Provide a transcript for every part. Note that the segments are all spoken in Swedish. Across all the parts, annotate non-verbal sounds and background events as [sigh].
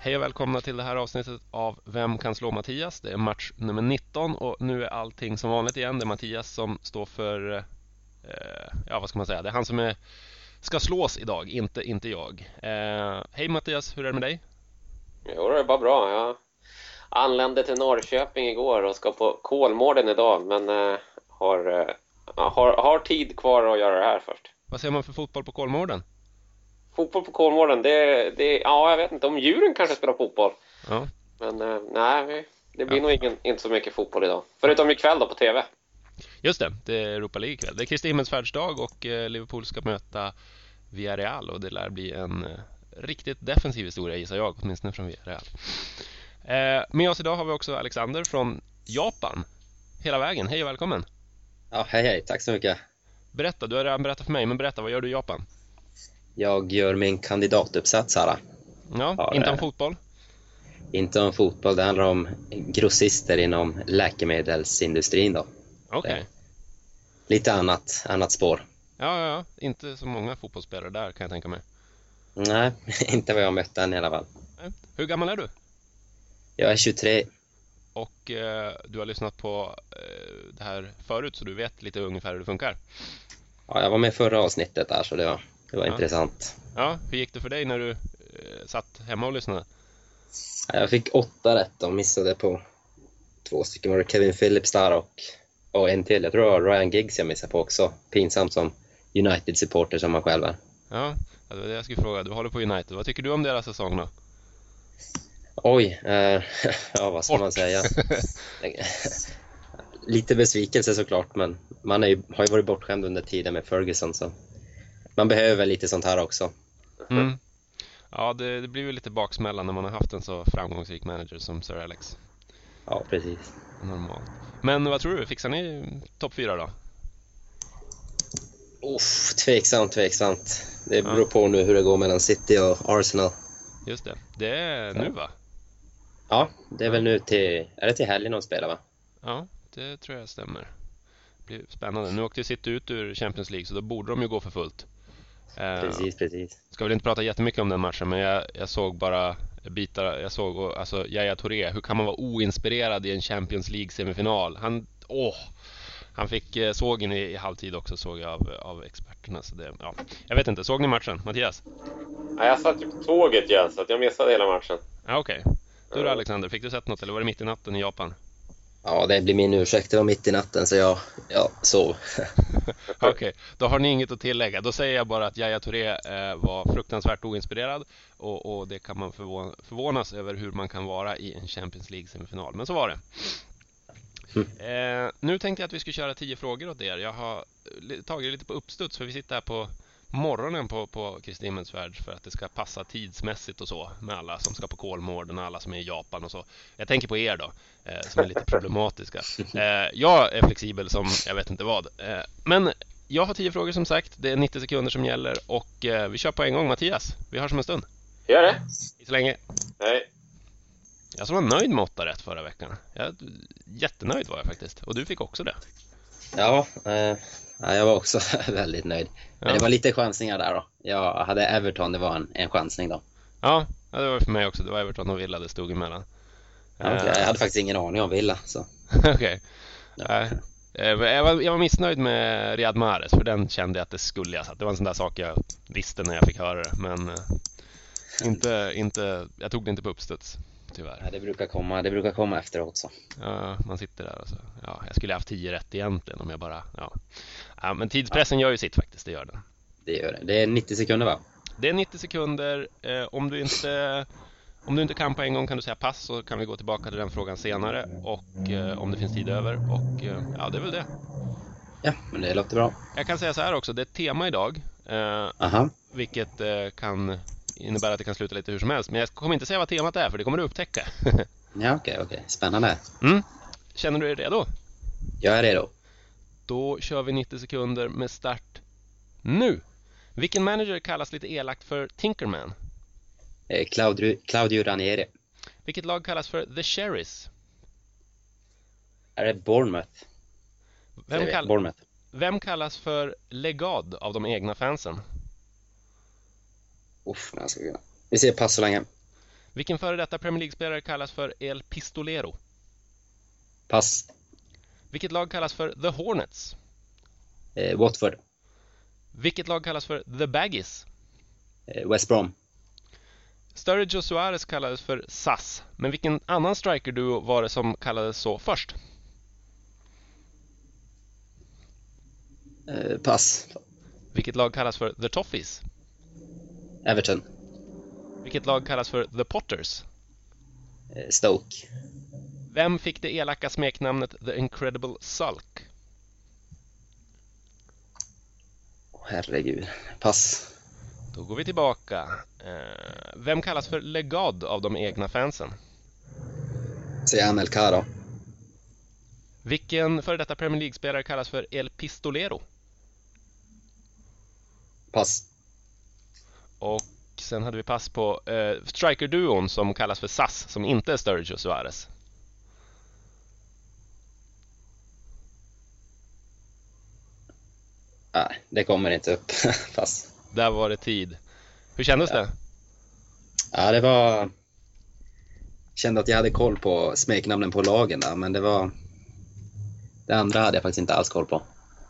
Hej och välkomna till det här avsnittet av Vem kan slå Mattias? Det är match nummer 19 och nu är allting som vanligt igen. Det är Mattias som står för, eh, ja vad ska man säga, det är han som är, ska slås idag, inte, inte jag. Eh, hej Mattias, hur är det med dig? Jo, det är bara bra. Jag anlände till Norrköping igår och ska på Kolmården idag, men eh, har, eh, har, har tid kvar att göra det här först. Vad ser man för fotboll på Kolmården? Fotboll på Kolmården, det, det... Ja, jag vet inte. Om djuren kanske spelar fotboll. Ja. Men eh, nej, vi- det blir nog ingen, inte så mycket fotboll idag. Förutom ikväll då på TV. Just det, det är Europa League ikväll. Det är Kristi himmelsfärdsdag och eh, Liverpool ska möta Villarreal och det lär bli en eh, riktigt defensiv historia gissar jag, åtminstone från Villarreal. Eh, Med oss idag har vi också Alexander från Japan hela vägen. Hej och välkommen! Ja, hej hej, tack så mycket. Berätta, du har redan berättat för mig, men berätta, vad gör du i Japan? Jag gör min kandidatuppsats här. Ja, Ja, inte det- om fotboll? Inte om fotboll, det handlar om grossister inom läkemedelsindustrin då. Okej. Det- Lite annat, annat spår. Ja, ja, ja, inte så många fotbollsspelare där kan jag tänka mig. Nej, [laughs] inte vad jag mött än i alla fall. Nej. Hur gammal är du? Jag är 23. Och eh, du har lyssnat på eh, det här förut, så du vet lite ungefär hur det funkar. Ja, jag var med förra avsnittet där så det var, det var Ja. intressant. Ja, hur gick det för dig när du eh, satt hemma och lyssnade? Ja, Jag fick åtta rätt och missade på två stycken. Var det Kevin Phillips där och, och en till. Jag tror det var Ryan Giggs jag missade på också. Pinsamt som United-supporter som man själv är. Ja, det var det jag skulle fråga. Du håller på United. Vad tycker du om deras säsong då? Oj, eh, [laughs] ja vad ska man Kort. säga? [laughs] Lite besvikelse såklart, men man är ju, har ju varit bortskämd under tiden med Ferguson så man behöver lite sånt här också. Mm. Ja, det, det blir ju lite baksmälla när man har haft en så framgångsrik manager som Sir Alex. Ja, precis. Normalt. Men vad tror du? Fixar ni topp fyra då? Uff, tveksamt, tveksamt. Det beror på nu hur det går mellan City och Arsenal. Just det. Det är nu va? Ja, det är väl nu till, är det till helgen de spelar va? Ja, det tror jag stämmer. Det blir spännande. Nu åkte ju City ut ur Champions League, så då borde de ju gå för fullt. Eh, Precis, precis. Ska väl inte prata jättemycket om den matchen, men jag, jag såg bara bitar. Jag såg och, alltså Yahya Touré. Hur kan man vara oinspirerad i en Champions League-semifinal? Han, åh! Han fick eh, sågen i, i halvtid också, såg jag av, av experterna. Så det, ja. Jag vet inte, såg ni matchen? Mattias? Ja, jag satt ju på tåget igen, så att jag missade hela matchen. Ja, okej. Du då Alexander, fick du sett något eller var det mitt i natten i Japan? Ja, det blir min ursäkt. Det var mitt i natten så jag, jag sov. [laughs] Okej, då har ni inget att tillägga. Då säger jag bara att Yahya Touré eh, var fruktansvärt oinspirerad och, och det kan man förvåna, förvånas över hur man kan vara i en Champions League-semifinal. Men så var det. Eh, nu tänkte jag att vi skulle köra tio frågor åt er. Jag har li- tagit det lite på uppstuds för vi sitter här på morgonen på, på Kristi himmelsfärd för att det ska passa tidsmässigt och så med alla som ska på Kolmården och alla som är i Japan och så. Jag tänker på er då, eh, som är lite problematiska. Eh, jag är flexibel som jag vet inte vad. Eh, men jag har tio frågor som sagt. Det är 90 sekunder som gäller och eh, vi kör på en gång Mattias. Vi hörs om en stund. Gör det? Hej så länge. Nej. Jag som var nöjd med åtta rätt förra veckan. Jag, jättenöjd var jag faktiskt. Och du fick också det. Ja, eh, ja, jag var också [laughs] väldigt nöjd. Men Ja. det var lite chansningar där då. Jag hade Everton, det var en, en chansning då. Ja, ja, det var för mig också. Det var Everton och Villa det stod emellan. [laughs] Eh, Jag hade faktiskt ingen aning om Villa. Så. Okej. Nej. Eh, men Jag var, jag var missnöjd med Riyad Mahrez för den kände jag att det skulle jag satt. Det var en sån där sak jag visste när jag fick höra det men eh, inte, inte, jag tog det inte på uppstuds tyvärr. Ja, det, brukar komma, det brukar komma efteråt så. Ja, man sitter där och så, ja, jag skulle haft 10 rätt egentligen om jag bara, ja. ja men tidspressen gör ju sitt faktiskt, det gör den. Det, gör det. det är 90 sekunder va? Det är 90 sekunder. Eh, om, du inte, om du inte kan på en gång kan du säga pass så kan vi gå tillbaka till den frågan senare och eh, om det finns tid över och eh, ja, det är väl det. Ja, men det låter bra. Jag kan säga så här också, det är ett tema idag, eh, Aha. vilket eh, kan innebära att det kan sluta lite hur som helst. Men jag kommer inte säga vad temat är, för det kommer du upptäcka. [laughs] Ja, okej, okej. Spännande. mm. Känner du dig redo? Jag är redo. Då kör vi 90 sekunder med start nu! Vilken manager kallas lite elakt för Tinkerman? Eh, Claudio, Claudio Ranieri. Vilket lag kallas för The Sherries? Är det Bournemouth? Vem, Säger vi. kall- Bournemouth. Vem kallas för legad av de egna fansen? Uff, när jag ska kunna. Vi ser pass så länge. Vilken före detta Premier League-spelare kallas för El Pistolero? Pass. Vilket lag kallas för The Hornets? Eh, Watford. Vilket lag kallas för The Baggies? Eh, West Brom. Sturridge och Suarez kallades för SAS, men vilken annan strikerduo var det som kallades så först? Eh, pass. Vilket lag kallas för The Toffees? Everton. Vilket lag kallas för The Potters? Eh, Stoke. Vem fick det elaka smeknamnet The Incredible Sulk? Åh, herregud. Pass. Då går vi tillbaka. Eh, Vem kallas för Legad av de egna fansen? Säger Anel Kara. Vilken före detta Premier League-spelare kallas för El Pistolero? Pass. Och sen hade vi pass på eh, strikerduon som kallas för SAS, som inte är Sturridge och Suarez. Nej, det kommer inte upp. [laughs] pass. Där var det tid. Hur kändes det? Ja, det var... Kände att jag hade koll på smeknamnen på lagen där, men det var... Det andra hade jag faktiskt inte alls koll på.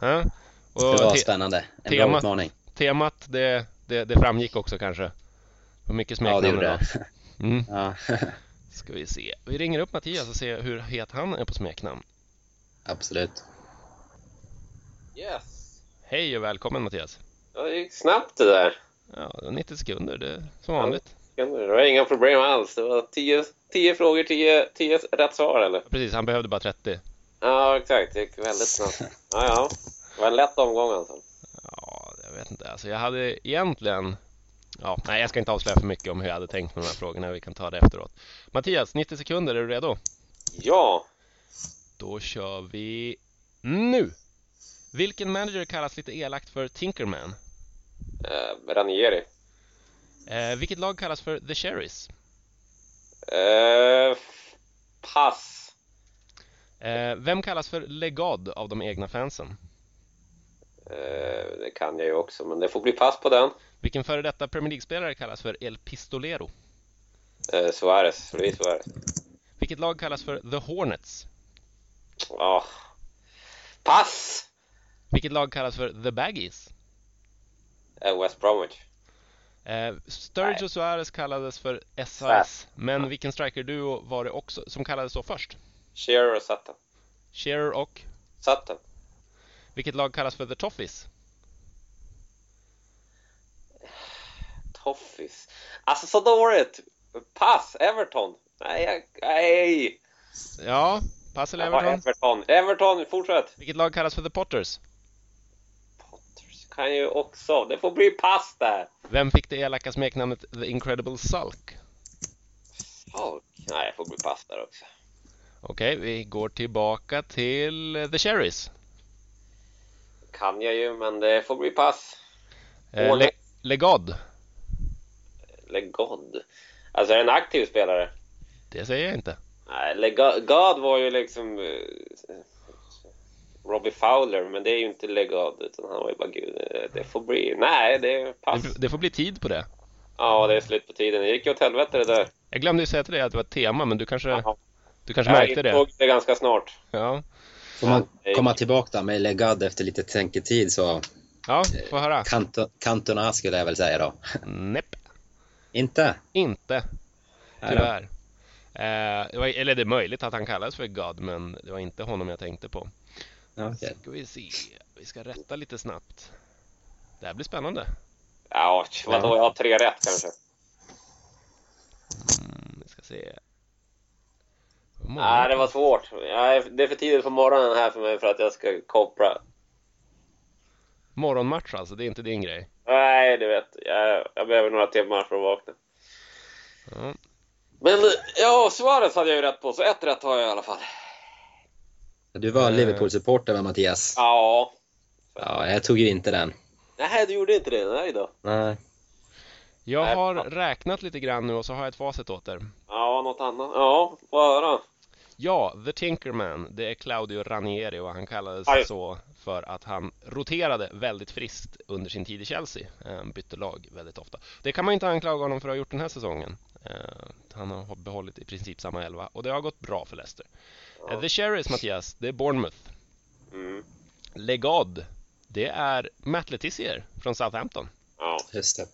Ja. Det var Och te- spännande. En bra temat- utmaning. temat, det, det, det framgick också kanske. Hur mycket Ja, smeknamn det gjorde det var. det. [laughs] Mm. Ja. Ska vi se. Vi ringer upp Mattias och ser hur het han är på smeknamn. Absolut. Yes. Hej och välkommen Mattias. Ja, det gick snabbt det där. Ja, det var 90 sekunder, det är som vanligt. Det var inga problem alls. Det var tio, tio frågor, tio, tio rätt svar eller? Precis, han behövde bara 30. Ja, exakt. Det gick väldigt snabbt. Ja, ja. Det var en lätt omgång alltså. Ja, jag vet inte. Alltså jag hade egentligen... Ja, nej, jag ska inte avslöja för mycket om hur jag hade tänkt med de här frågorna. Vi kan ta det efteråt. Mattias, 90 sekunder. Är du redo? Ja. Då kör vi nu! Vilken manager kallas lite elakt för Tinkerman? Eh, Ranieri. Eh, vilket lag kallas för The Cherries? Eh, f- pass. Eh, vem kallas för Legad av de egna fansen? Eh, det kan jag ju också, men det får bli pass på den. Vilken före detta Premier League-spelare kallas för El Pistolero? Eh, Suarez. Det blir Suarez. Vilket lag kallas för The Hornets? Ja. Pass! Vilket lag kallas för The Baggies? Eh, West Bromwich. Eh, Sturridge och Suarez kallades för SAS, SAS. men vilken strikerduo var det också som kallades så först? Shearer och Sutton. Shearer och Sutton. vilket lag kallas för The Toffees? Toffis. Alltså så dåligt! Pass! Everton! Nej, jag, nej! Ja, pass eller Jag har Everton? Everton. Everton, fortsätt! Vilket lag kallas för The Potters? Potters kan ju också. Det får bli pass där! Vem fick det elaka smeknamnet The Incredible Sulk? Oh, nej, det får bli pass där också. Okej, vi går tillbaka till eh, The Cherries. Kan jag ju, men det får bli pass. Eh, Le- Hornets. Legod, Legod. Alltså, är det en aktiv spelare? det säger jag inte. Nej, Legod var ju liksom... eh, Robbie Fowler, men det är ju inte Legod, utan han var ju bara gud. eh, Det får bli... Nej, det är pass. Det, det får bli tid på det. Ja, det är slut på tiden. Det gick ju åt helvete det där. Jag glömde ju säga till dig att det var ett tema, men du kanske, Jaha. du kanske märkte jag det? insåg det ganska snart. Ja, Får man Ja, komma tillbaka där med Legad efter lite tänketid så ja får höra. Kanto- Cantona skulle jag väl säga då. Näpp, Inte? inte. Nej då. Tyvärr. Eh, det var, eller det är möjligt att han kallades för God, men det var inte honom jag tänkte på. Ja, okej. Ska vi se, vi ska rätta lite snabbt. Det här blir spännande. Ja, tj, vadå, jag har tre rätt kanske. Mm, vi ska se. Hur många? Nej, det var svårt. Nej, Det är för tidigt på morgonen här för mig för att jag ska koppla. Morgonmatch alltså, det är inte din grej. Nej, du vet. Jag, jag behöver några timmar för att vakna. Ja. Men ja, svaret hade jag ju rätt på, så ett rätt har jag i alla fall. Du var Eh. Liverpool-supporter va Mattias? Ja. Ja, jag tog ju inte den. Nej, du gjorde inte det. Nej då. Nej. Jag Nej, har fan. räknat lite grann nu och så har jag ett facit åt er. Ja, något annat. Ja, få höra. Ja, The Tinkerman, det är Claudio Ranieri och han kallades Aj. så för att han roterade väldigt Ehm, friskt under sin tid i Chelsea. Eh, Bytte lag väldigt ofta. Det kan man ju inte anklaga honom för att ha gjort den här säsongen. Eh, Eh, han har behållit i princip samma elva och det har gått bra för Leicester. Eh, The Sheriffs, Mattias, det är Bournemouth. Mm. Legod, det är Matt Letizier från Southampton. Ja. Just det.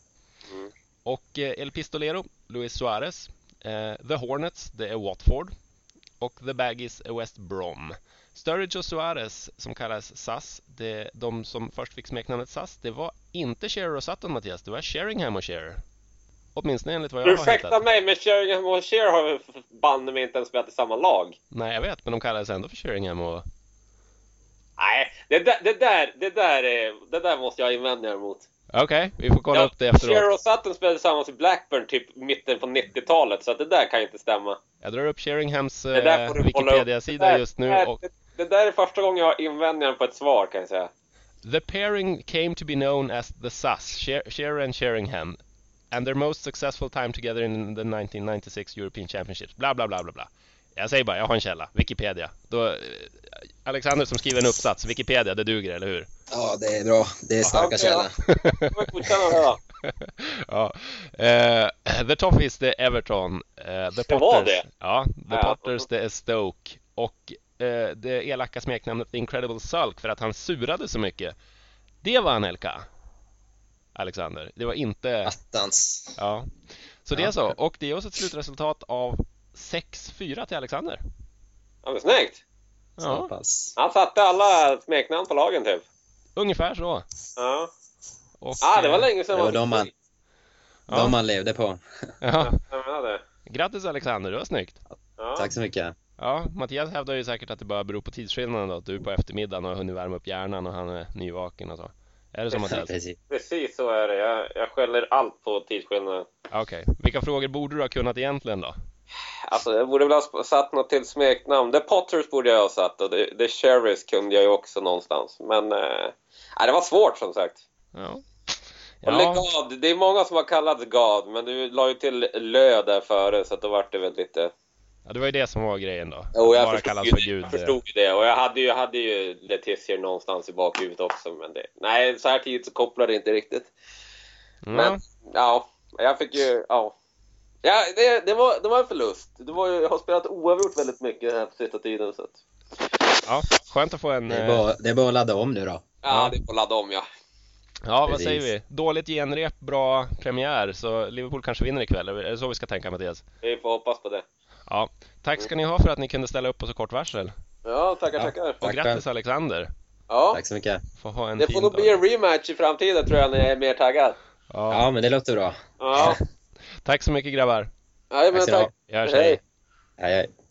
Och eh, El Pistolero, Luis Suarez. Eh, The Hornets, det är Watford. Och The Baggies är West Brom. Sturridge och Suarez, som kallas SAS, det, de som först fick smeknamnet SAS, det var inte Shearer och Sutton, Mattias. Det var Sheringham och Shearer. Åtminstone enligt vad jag har Ursäkta hittat. mig, men Sheringham och Shear har väl f- banne mig inte ens spelat i samma lag? Nej, jag vet, men de kallades ändå för Sheringham och... Nej, det där, det där, det där, är- det där måste jag invända emot. Okej, vi får kolla Ja, upp det efteråt. Shearer och Sutton spelade tillsammans i Blackburn typ mitten på 90-talet, så att det där kan ju inte stämma. Jag drar upp Sheringhams Det där eh, får du kolla upp. Det Wikipedia-sida där- just det nu där- och det, det där är första gången jag har invändningar på ett svar kan jag säga. The pairing came to be known as the SAS, Sher- Shearer and Sheringham, and their most successful time together in the 1996 European Championships. Bla, bla, bla, bla, bla. Jag säger bara, jag har en källa, Wikipedia. Då, eh, Alexander som skriver en uppsats, Wikipedia, det duger, eller hur? Ja, det är bra. Det är starka okej, källor. Jag får godkänna det då. ja. Eh, [clears throat] the Toffees, det är Everton. Eh, the Det Potters, var det? Ja, The Ja. Potters, det är Stoke. Och eh, det elaka smeknamnet The Incredible Sulk för att han surade så mycket. Det var Anelka. Alexander, det var inte... Attans. Ja. Så det är Alltså. Ja. så. Och det är också ett slutresultat av 6-4 till Alexander. Ja, men snyggt! Så Ja, pass. Han satte alla smeknamn på lagen typ. ungefär så. Ja, Och, ah, det var eh, länge sedan Det var man- de man- Ja. De man levde på. Ja. Jag menar det. Grattis Alexander, det var snyggt. Ja. Tack så mycket. Ja, Mattias hävdar ju säkert att det bara beror på tidsskillnaden då, att du är på eftermiddagen och har hunnit värma upp hjärnan och han är nyvaken och så. Är det så Mattias? Precis. Precis så är det. Jag, jag skäller allt på tidsskillnaden. Okej. Vilka frågor borde du ha kunnat egentligen då? Alltså, jag borde väl ha sp- satt något till smeknamn. The Potters borde jag ha satt och The, the Sheriffs kunde jag ju också någonstans. Men eh, nej, det var svårt som sagt. Ja. Och Ja, Legad, det är många som har kallats Gad, men du la ju till Lö där före så att då vart det väl lite... ja, det var ju det som var grejen då. Att Jo, jag bara förstod, kallas ju, för eh. det. gud. jag förstod ju det och jag hade ju, jag hade ju Letizier någonstans i bakhuvudet också men det... Nej, så här tidigt så kopplar det inte riktigt. Mm, Ja, Men ja, jag fick ju... Ja. Ja, det, det, var, det var en förlust. Det var, ju- jag har spelat oavgjort väldigt mycket den här sista tiden. Så att, ja, skönt att få en... Det är, eh, bara, det är bara att ladda om nu då. ja, det är på att ladda om ja. Ja, vad Precis. säger vi? Dåligt genrep, bra premiär, så Liverpool kanske vinner ikväll. Är det så vi ska tänka Mattias? Vi får hoppas på det. Ja, tack ska ni ha för att ni kunde ställa upp på så kort varsel. Ja, tackar, Ja. tackar. Och Tack grattis Alexander! Ja, Tack så mycket. Får ha en det fin får nog dag. bli en rematch i framtiden tror jag när jag är mer taggad. Ja. Ja, men det låter bra. Ja, Tack så mycket grabbar! ja men Tack ska du ha. tack. Jag hörs, Hej. hej. Hej, hej.